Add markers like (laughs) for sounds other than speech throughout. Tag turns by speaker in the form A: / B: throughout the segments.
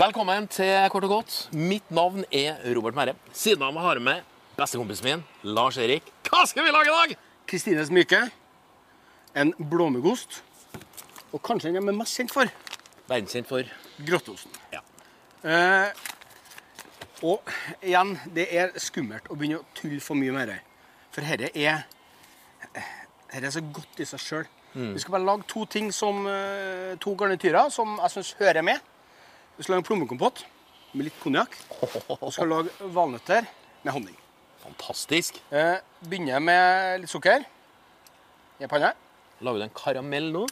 A: Velkommen til Kort og godt. Mitt navn er Robert Merre. Siden av meg har jeg med bestekompisen min, Lars Erik. Hva skal vi lage i dag?
B: Kristines myke, en blåmuggost, og kanskje den de er mest kjent for,
A: Verdenskjent for
B: grøttosten.
A: Ja.
B: Eh, og igjen, det er skummelt å begynne å tulle for mye med dette. For dette er, dette er så godt i seg sjøl. Vi skal bare lage to ting som eh, to garnityrer som jeg syns hører med. Vi skal lage plommekompott med litt konjakk. Og vi skal lage valnøtter med honning.
A: (laughs) fantastisk.
B: Eh, begynner med litt sukker i panna.
A: Lager du en karamell nå?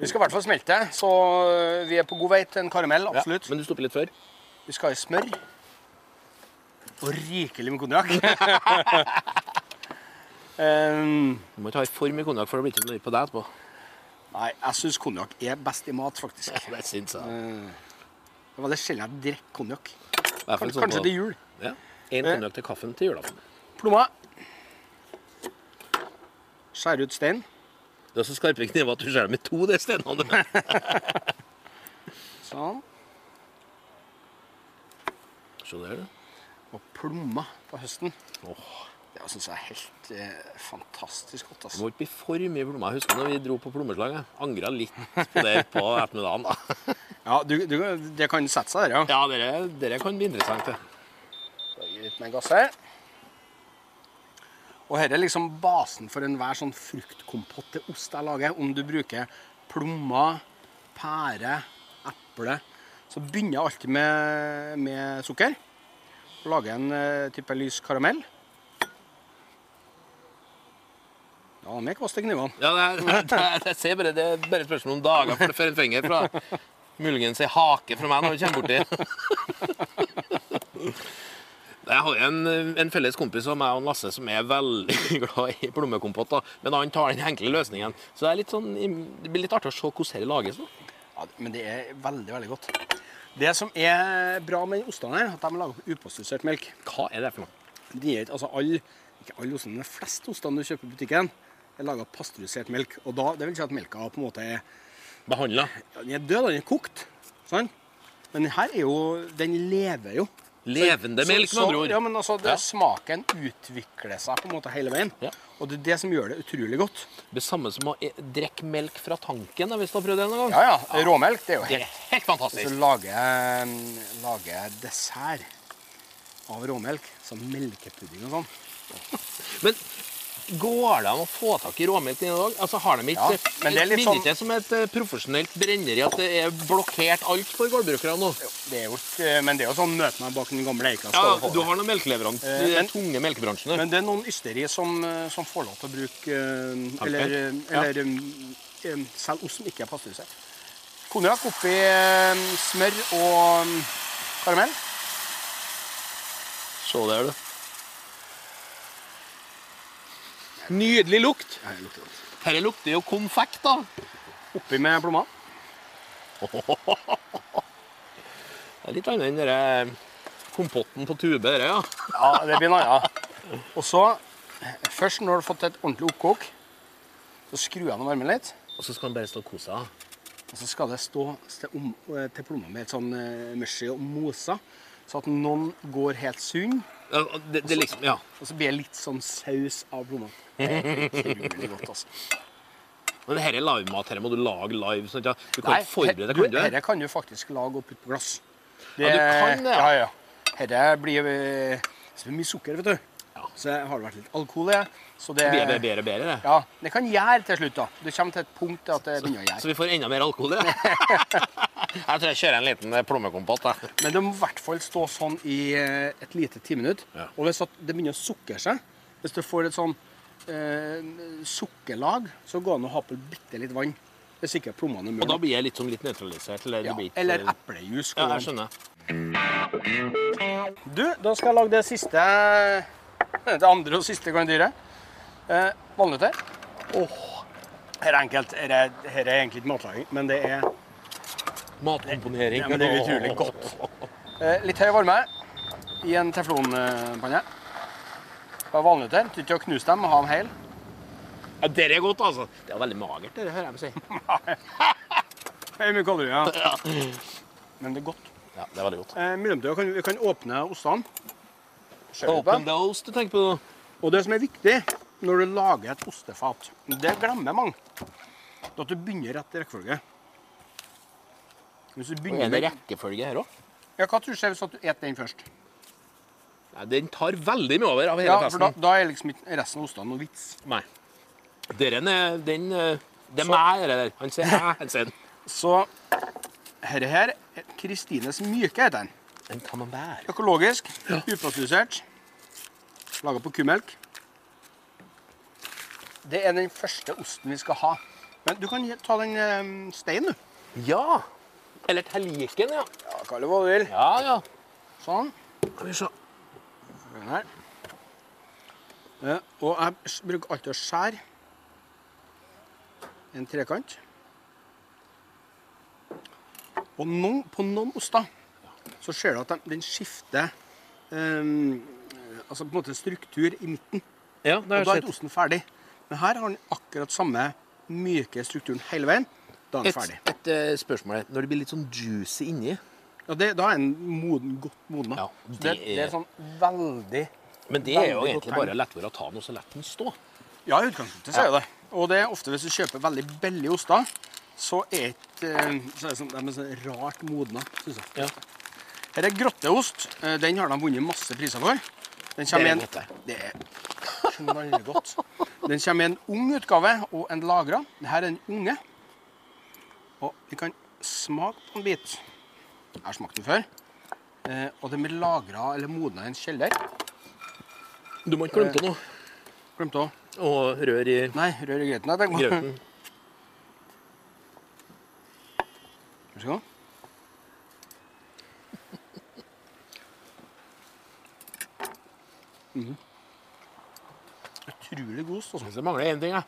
B: Vi skal i hvert fall smelte, så øh, vi er på god vei til en karamell. absolutt.
A: Ja, men du stopper litt før.
B: Vi skal ha smør. Og rikelig
A: (laughs)
B: med konjakk. um,
A: Du må ikke ha for mye konjakk, for det blir ikke nøye på deg etterpå.
B: nei, jeg syns konjakk er best i mat, faktisk. Det
A: Det syns jeg.
B: Eh, var veldig sjelden jeg drikker konjakk.
A: I hvert fall
B: Kanskje,
A: sånn
B: kanskje
A: på-
B: til jul. Eh.
A: Ja. En konjakk til kaffen til julaften.
B: Plomma. Skjære ut stein.
A: Du har så skarpe kniver at du skjærer med to de
B: (laughs)
A: stedene.
B: Sånn.
A: Se der, du.
B: Og plomma på høsten.
A: Åh,
B: Det syns jeg er helt eh, fantastisk godt.
A: det
B: Altså.
A: må ikke bli for mye plommer. Jeg husker når vi dro på plommeslaget. Angra litt på det på ettermiddagen. da.
B: Ja, du, du, det kan sette seg der, ja.
A: Ja, dere, dere kan bli interessante.
B: Da gir vi litt mer gass her. Og her er liksom basen for enhver sånn fruktkompott til ost jeg lager. Om du bruker plommer, pære, eple, så begynner jeg alltid med, med sukker. Lager en eh, type lys karamell. Ja, de er kvaste knivene.
A: Ja, det, er- (laughs) det, er- jeg ser bare, det er bare et spørsmål om dager før før en finger fra Muligens ei hake fra meg når du kommer borti. Jeg har jo en, en felles kompis av meg og Lasse som er veldig (laughs) glad i plommekompott. da. Men han tar den enkle løsningen. Så det, er litt sånn, det blir litt artig å se hvordan det lages. da.
B: Ja, men det er veldig, veldig godt. Det som er bra med den ostene her, at de er laget på upasteurisert melk.
A: Hva er det for noe?
B: De er ikke, altså alle, ikke alle ostene, men de fleste ostene du kjøper i butikken, er laga av pasteurisert melk. Og da, det vil si at melka på en måte er,
A: Behandla.
B: ja, den er død, den er kokt. Sånn? Men den her er jo Den lever jo.
A: Levende melk, med
B: Så-
A: andre ord.
B: Ja, men altså, det,
A: Ja.
B: Smaken utvikler seg på en måte hele veien.
A: Ja.
B: Og det er det som gjør det utrolig godt.
A: Det samme som å e- drikke melk fra tanken, da, hvis du har prøvd det noen gang.
B: Ja, ja. Råmelk, det er jo
A: Det er
B: helt
A: helt
B: Hvis
A: fantastisk.
B: du lager, lager dessert av råmelk, som melkepudding og sånn
A: Men går det an å få tak i råmelk i dag? Altså, har de ikke,
B: Ja, men det er litt
A: Virker
B: sånn-
A: ikke som et eh, profesjonelt brenneri at det er blokkert alt for gårdbrukere nå?
B: Jo, det er jo ikke Men det er jo sånn møt meg bak den gamle eika.
A: Ja,
B: skal få det.
A: du har noen melkeleverant,
B: Eh,
A: de
B: men-
A: tunge melkebransjene.
B: Men det er noen ysteri som, eh, som får lov til å bruke eh,
A: Tanken.
B: Eller,
A: Ja.
B: eller eh, eh, selv ost som ikke er pasteurisert. Konjakk oppi eh, smør og eh, karamell.
A: Se der, du. Nydelig lukt. Dette lukter jo konfekt, da.
B: Oppi med plommer.
A: Det er litt annet enn den kompotten på tube. dere, ja.
B: Ja, det blir noe annet. Og så, først når du har fått et ordentlig oppkok, så skrur jeg den og varmer litt.
A: Og så skal den bare stå og kose seg.
B: Og så skal det stå til, om, eh, til plommer med et sånn eh, mushy og mosa, så at noen går helt sunn.
A: Ja, Det, det er liksom, ja.
B: Og så blir det litt sånn saus av plommene.
A: (laughs)
B: Det er utrolig godt, altså.
A: Men dette er livemat. Dette må du lage live. Sånn, ja. Du kan
B: Nei,
A: ikke forberede
B: he-
A: deg, kan du?
B: Dette kan du faktisk lage og putte på glass.
A: Ja, du kan det, ja.
B: Ja, ja. Dette blir eh, så blir det mye sukker, vet du.
A: Ja.
B: Så jeg har det vært litt alkohol i. det, Så det,
A: Bedre, bedre, bedre, det.
B: ja, det kan gjære til slutt, da. Du kommer til et punkt at det begynner å
A: Så
B: gjære.
A: vi får enda mer alkohol, ja. (laughs) jeg tror jeg kjører en liten eh, plommekompott. jeg.
B: Men det må i hvert fall stå sånn i eh, et lite timinutt.
A: Ja.
B: Og hvis at det begynner å sukre seg, hvis du får et sånn eh, sukkerlag, så går det an å ha på bitte litt vann. Hvis ikke plommene er
A: Og
B: møre.
A: da blir jeg litt, som litt nøytralisert. Eller, det
B: Ja,
A: blir ikke-
B: eller eplejus.
A: Ja,
B: går
A: jeg
B: an.
A: skjønner.
B: Du, da skal jeg lage det siste Eh, Det andre og siste garnityret. Eh, valnøtter.
A: Åh,
B: Her er enkelt. Her er, her er egentlig ikke matlaging, men det er
A: Matkomponering.
B: Ja, men det er utrolig godt. Eh, litt høy varme i en teflonpanne. Bare vanlig til. Til ikke å knuse dem og ha dem hel.
A: Ja, dere er godt, altså. Det er veldig magert, det hører jeg dem si.
B: Det er
A: (laughs)
B: mye kalorier. Ja. Men det er godt.
A: Ja, det er veldig godt.
B: Eh, mellomtida kan vi kan åpne ostene. Skjøv litt på
A: Open
B: dem.
A: those du tenker på nå.
B: Og det som er viktig når du lager et ostefat, det glemmer mange, det er at du begynner i rett i rekkefølge. Hvis du
A: Er
B: begynner
A: det
B: med...
A: rekkefølge her òg?
B: Ja, Hva tror du skjer hvis at du spiser den først?
A: Nei, den tar veldig mye over av hele
B: Ja, for da,
A: festen.
B: da er liksom ikke resten av ostene noe vits.
A: Nei. Dere er den eh, Det er
B: Så-
A: meg, det der. Han sier jeg, han sier den.
B: Så herre her Kristines myke heter den.
A: Den kan man bære.
B: Økologisk, upasteurisert, laga på kumelk. Det er den første osten vi skal ha. Men du kan he- ta den eh, steinen, du.
A: Ja. Eller tallerken, ja.
B: Ja, kall det hva du vil.
A: Ja, ja.
B: Sånn.
A: Skal vi se.
B: Den her. Eh, Og jeg s- bruker alltid å skjære en trekant. Og noen, på noen oster så ser du at de- den skifter eh, altså på en måte struktur i midten.
A: Ja, det
B: Og da
A: har
B: er
A: jeg
B: ikke
A: sett.
B: osten ferdig. Men her har den akkurat samme myke strukturen hele veien. Da er den
A: Et,
B: ferdig.
A: et eh, spørsmål her. Når det blir litt sånn juicy inni
B: Ja, det, da er den moden, godt modna.
A: Ja, det
B: Så det,
A: er-
B: det er sånn veldig
A: Men det er jo
B: Veldig godt
A: egentlig
B: tegn.
A: bare å la være å ta den og så la den stå.
B: Ja, i utgangspunktet så er det det. Og det er ofte hvis du kjøper veldig billige oster, så er ikke, eh, så er det sånn, de er sånn rart modna, synes jeg.
A: Ja.
B: Her er grotteost. Eh, Den har de vunnet masse priser for. Den
A: Det er
B: kommer i en-
A: godt, det.
B: Det er knallgodt. Den kommer i en ung utgave og en lagra. Dette er den unge. Og vi kan smake på en bit. Jeg har smakt den før. Eh, Og den blir lagra eller modna i en kjeller.
A: Du må ikke glemme til noe.
B: Glemte å
A: Og rør i
B: Nei, rør i grøten. Jeg tenker på.
A: grøten. (laughs)
B: Vær så god. Mhm. Utrolig god ost, altså.
A: Så mangler jeg én ting, jeg.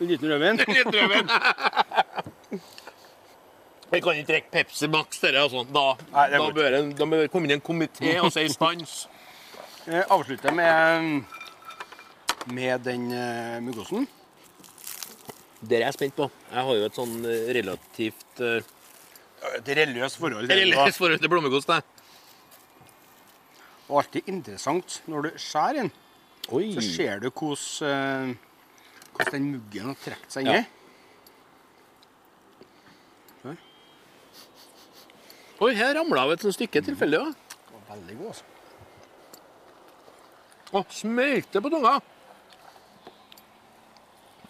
B: En liten rødvin.
A: (laughs) Litt rødvin. Vi kan ikke drikke Pepsi Max, dere. Altså. Da,
B: Nei,
A: da,
B: det går ikke.
A: bør en, da bør det komme inn en komité og si stans. (laughs)
B: Jeg avslutter med, med den eh, muggosten.
A: Det er jeg spent på. Jeg har jo et sånn eh, relativt eh,
B: Et religiøst forhold. til den, da.
A: religiøst forhold til blommekost. jeg.
B: Og alltid interessant når du skjærer den,
A: Oi.
B: så ser du hvordan eh, hvordan den muggen har trukket seg
A: Ja.
B: inni.
A: Oi, her ramla jo et sånt stykke tilfeldig òg.
B: Den var Veldig god, altså.
A: Å, smelte på tunga!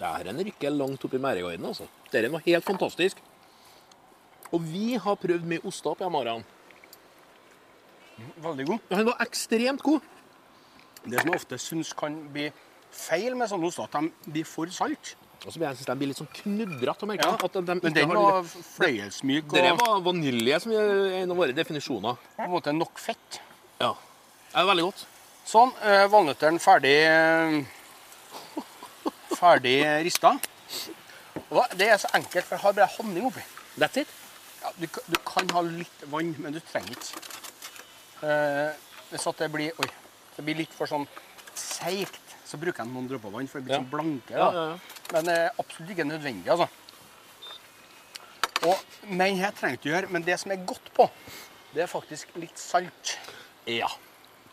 A: Det er en rykker langt opp i mergeøynene, altså. Dette var helt fantastisk. Og vi har prøvd mye oster på Yamaraen.
B: Veldig god.
A: Han var ekstremt god.
B: Det som jeg ofte syns kan bli feil med sånne oster, at de blir for salt.
A: Og så blir jeg synes de blir litt sånn knudrete å merke.
B: Ja,
A: At de, de
B: Men
A: ikke
B: den
A: har
B: var
A: det-
B: fløyelsmyk og
A: Dere var vanilje, som er en av våre definisjoner.
B: på en måte nok fett.
A: Ja. Det er veldig godt.
B: Sånn. eh, Valnøttene ferdig eh, Ferdig rista. Og da- det er så enkelt, for jeg har bare honning oppi.
A: That's it.
B: Ja, du, kan- du kan ha litt vann, men du trenger ikke. Eh, Hvis at det blir Oi. Det blir litt for sånn seigt, så bruker jeg noen dråper vann, for det blir
A: Ja.
B: sånn blanke.
A: Ja,
B: da.
A: ja, ja.
B: Men det er absolutt ikke nødvendig, altså. Og, men jeg trenger ikke gjøre, men det som er godt på, det er faktisk litt salt.
A: ja.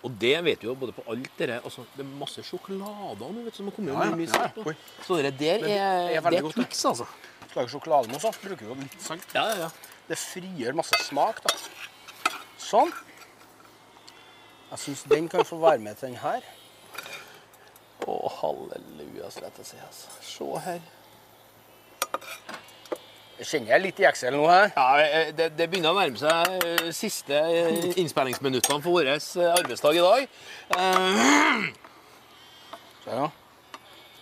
A: Og det vet du jo både på alt det der. Altså, det er masse sjokolader nå, vet du, som har kommet
B: Ja, ja,
A: mye, mye
B: ja, ja.
A: salt nå.
B: Oi.
A: Så det der er,
B: Men det er
A: det er,
B: veldig godt, det.
A: triks, altså.
B: Hvis du lager sjokolademousse, så bruker du jo litt salt.
A: Ja, ja, ja.
B: Det frigjør masse smak, da. Sånn. Jeg syns den kan få være med til den her.
A: Å, halleluja, skal jeg til å si. Altså. Se her.
B: Jeg kjenner jeg litt i Excel nå her.
A: Ja, eh, det, det begynner å nærme seg eh, siste eh, innspillingsminuttene for vår arbeidsdag i dag. Eh,
B: Se ja.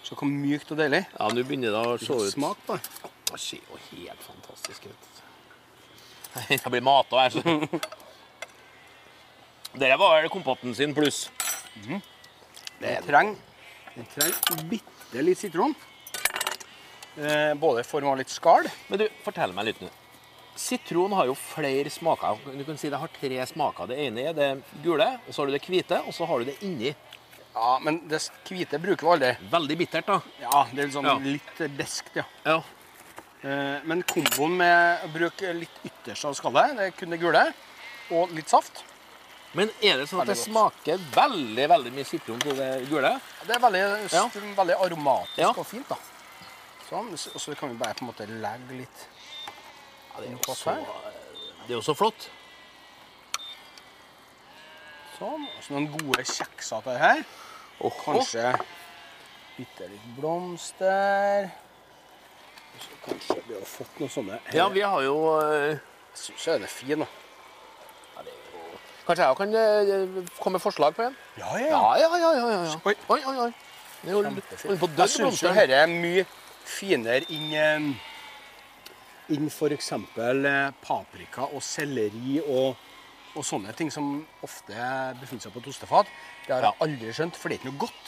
B: Se hvor mykt og deilig.
A: Ja, nå begynner det å se ut.
B: Smak, da.
A: Det ser jo helt fantastisk ut. Jeg blir mata her, så Dette var vel kompatten sin pluss.
B: Den trenger, den trenger bitte litt sitron. eh, både i form av litt skall.
A: Men du, fortell meg litt nå. Sitron har jo flere smaker. Du kan si det har tre smaker. Det ene er det gule, og så har du det hvite, og så har du det inni.
B: Ja, men det s- hvite bruker vi aldri.
A: Veldig bittert, da.
B: Ja, det er litt sånn
A: Ja.
B: litt deskt, ja.
A: Ja.
B: Eh, Men komboen med å bruke litt ytterst av skallet, det er kun det gule, og litt saft,
A: Men er det sånn at det
B: Veldig
A: smaker veldig veldig mye sitron på det gule?
B: det er veldig,
A: Ja.
B: st- veldig aromatisk
A: Ja.
B: og fint, da. Sånn, s- og så kan vi bare på en måte legge litt
A: Ja, det, er
B: Noe
A: jo så, eh,
B: her.
A: det er jo så flott.
B: sånn. Og så noen gode kjekser til det her.
A: Og
B: Kanskje bitte litt blomster. Og så kanskje vi har fått noen sånne.
A: Ja, vi har jo eh,
B: Jeg syns den er fin, da.
A: Kanskje jeg også kan eh, komme med forslag på en?
B: Ja,
A: Ja, ja, ja. ja, ja.
B: Oi.
A: oi, oi. oi. Det er jo holder på å dø,
B: Jeg syns jo
A: blomsteren.
B: dette er mye finere enn eh, enn f.eks. paprika og selleri og, og sånne ting som ofte befinner seg på et ostefat. Det har jeg aldri skjønt, for det er ikke noe godt.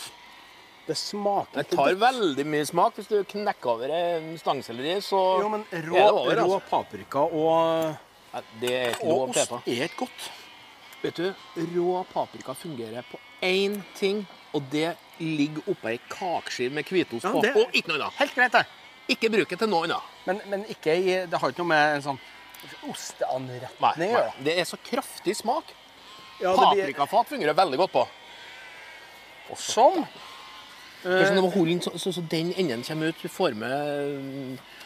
B: Det smaker
A: Det
B: ikke
A: tar
B: godt.
A: veldig mye smak. Hvis du knekker over en stangselleri, så
B: Jo, men
A: er
B: rå,
A: det over.
B: rå
A: Altså.
B: paprika og,
A: Nei, Det er ikke noe å
B: og ost
A: peta.
B: er ikke godt.
A: Vet du, rå paprika fungerer på én ting, og det ligger oppå ei kakeskive med hvitost
B: Ja,
A: på.
B: det-
A: Og ikke noe annet.
B: Helt greit, det.
A: Ikke bruk det til noe annet.
B: Men, men ikke i, det har ikke noe med en sånn
A: Nei,
B: osteanretning å
A: nei.
B: gjøre.
A: Det er så kraftig smak.
B: Ja, det blir- Eh.
A: Paprikafat fungerer veldig godt på.
B: Sånn.
A: Kanskje du må holde den sånn så, så, så den enden kommer ut. Du får med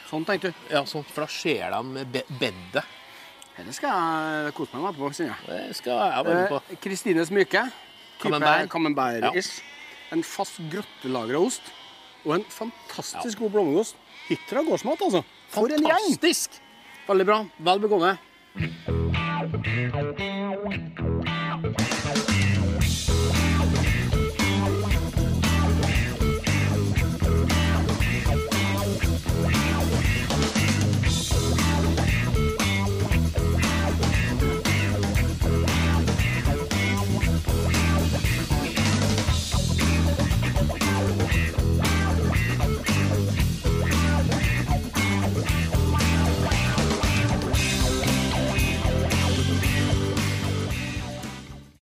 B: Sånn tenkte du.
A: Ja, sånn, for da ser de be- bedet.
B: Dette skal jeg kose meg med etterpå. kjenner jeg.
A: Det skal jeg være med på.
B: Eh, Kristines myke.
A: Camembert.
B: Camembert-ish. En fast grottelagra ost. Og en fantastisk god blommegost. Hitra gårdsmat, altså. For en gjeng!
A: Fantastisk!
B: Veldig bra. Vel begående.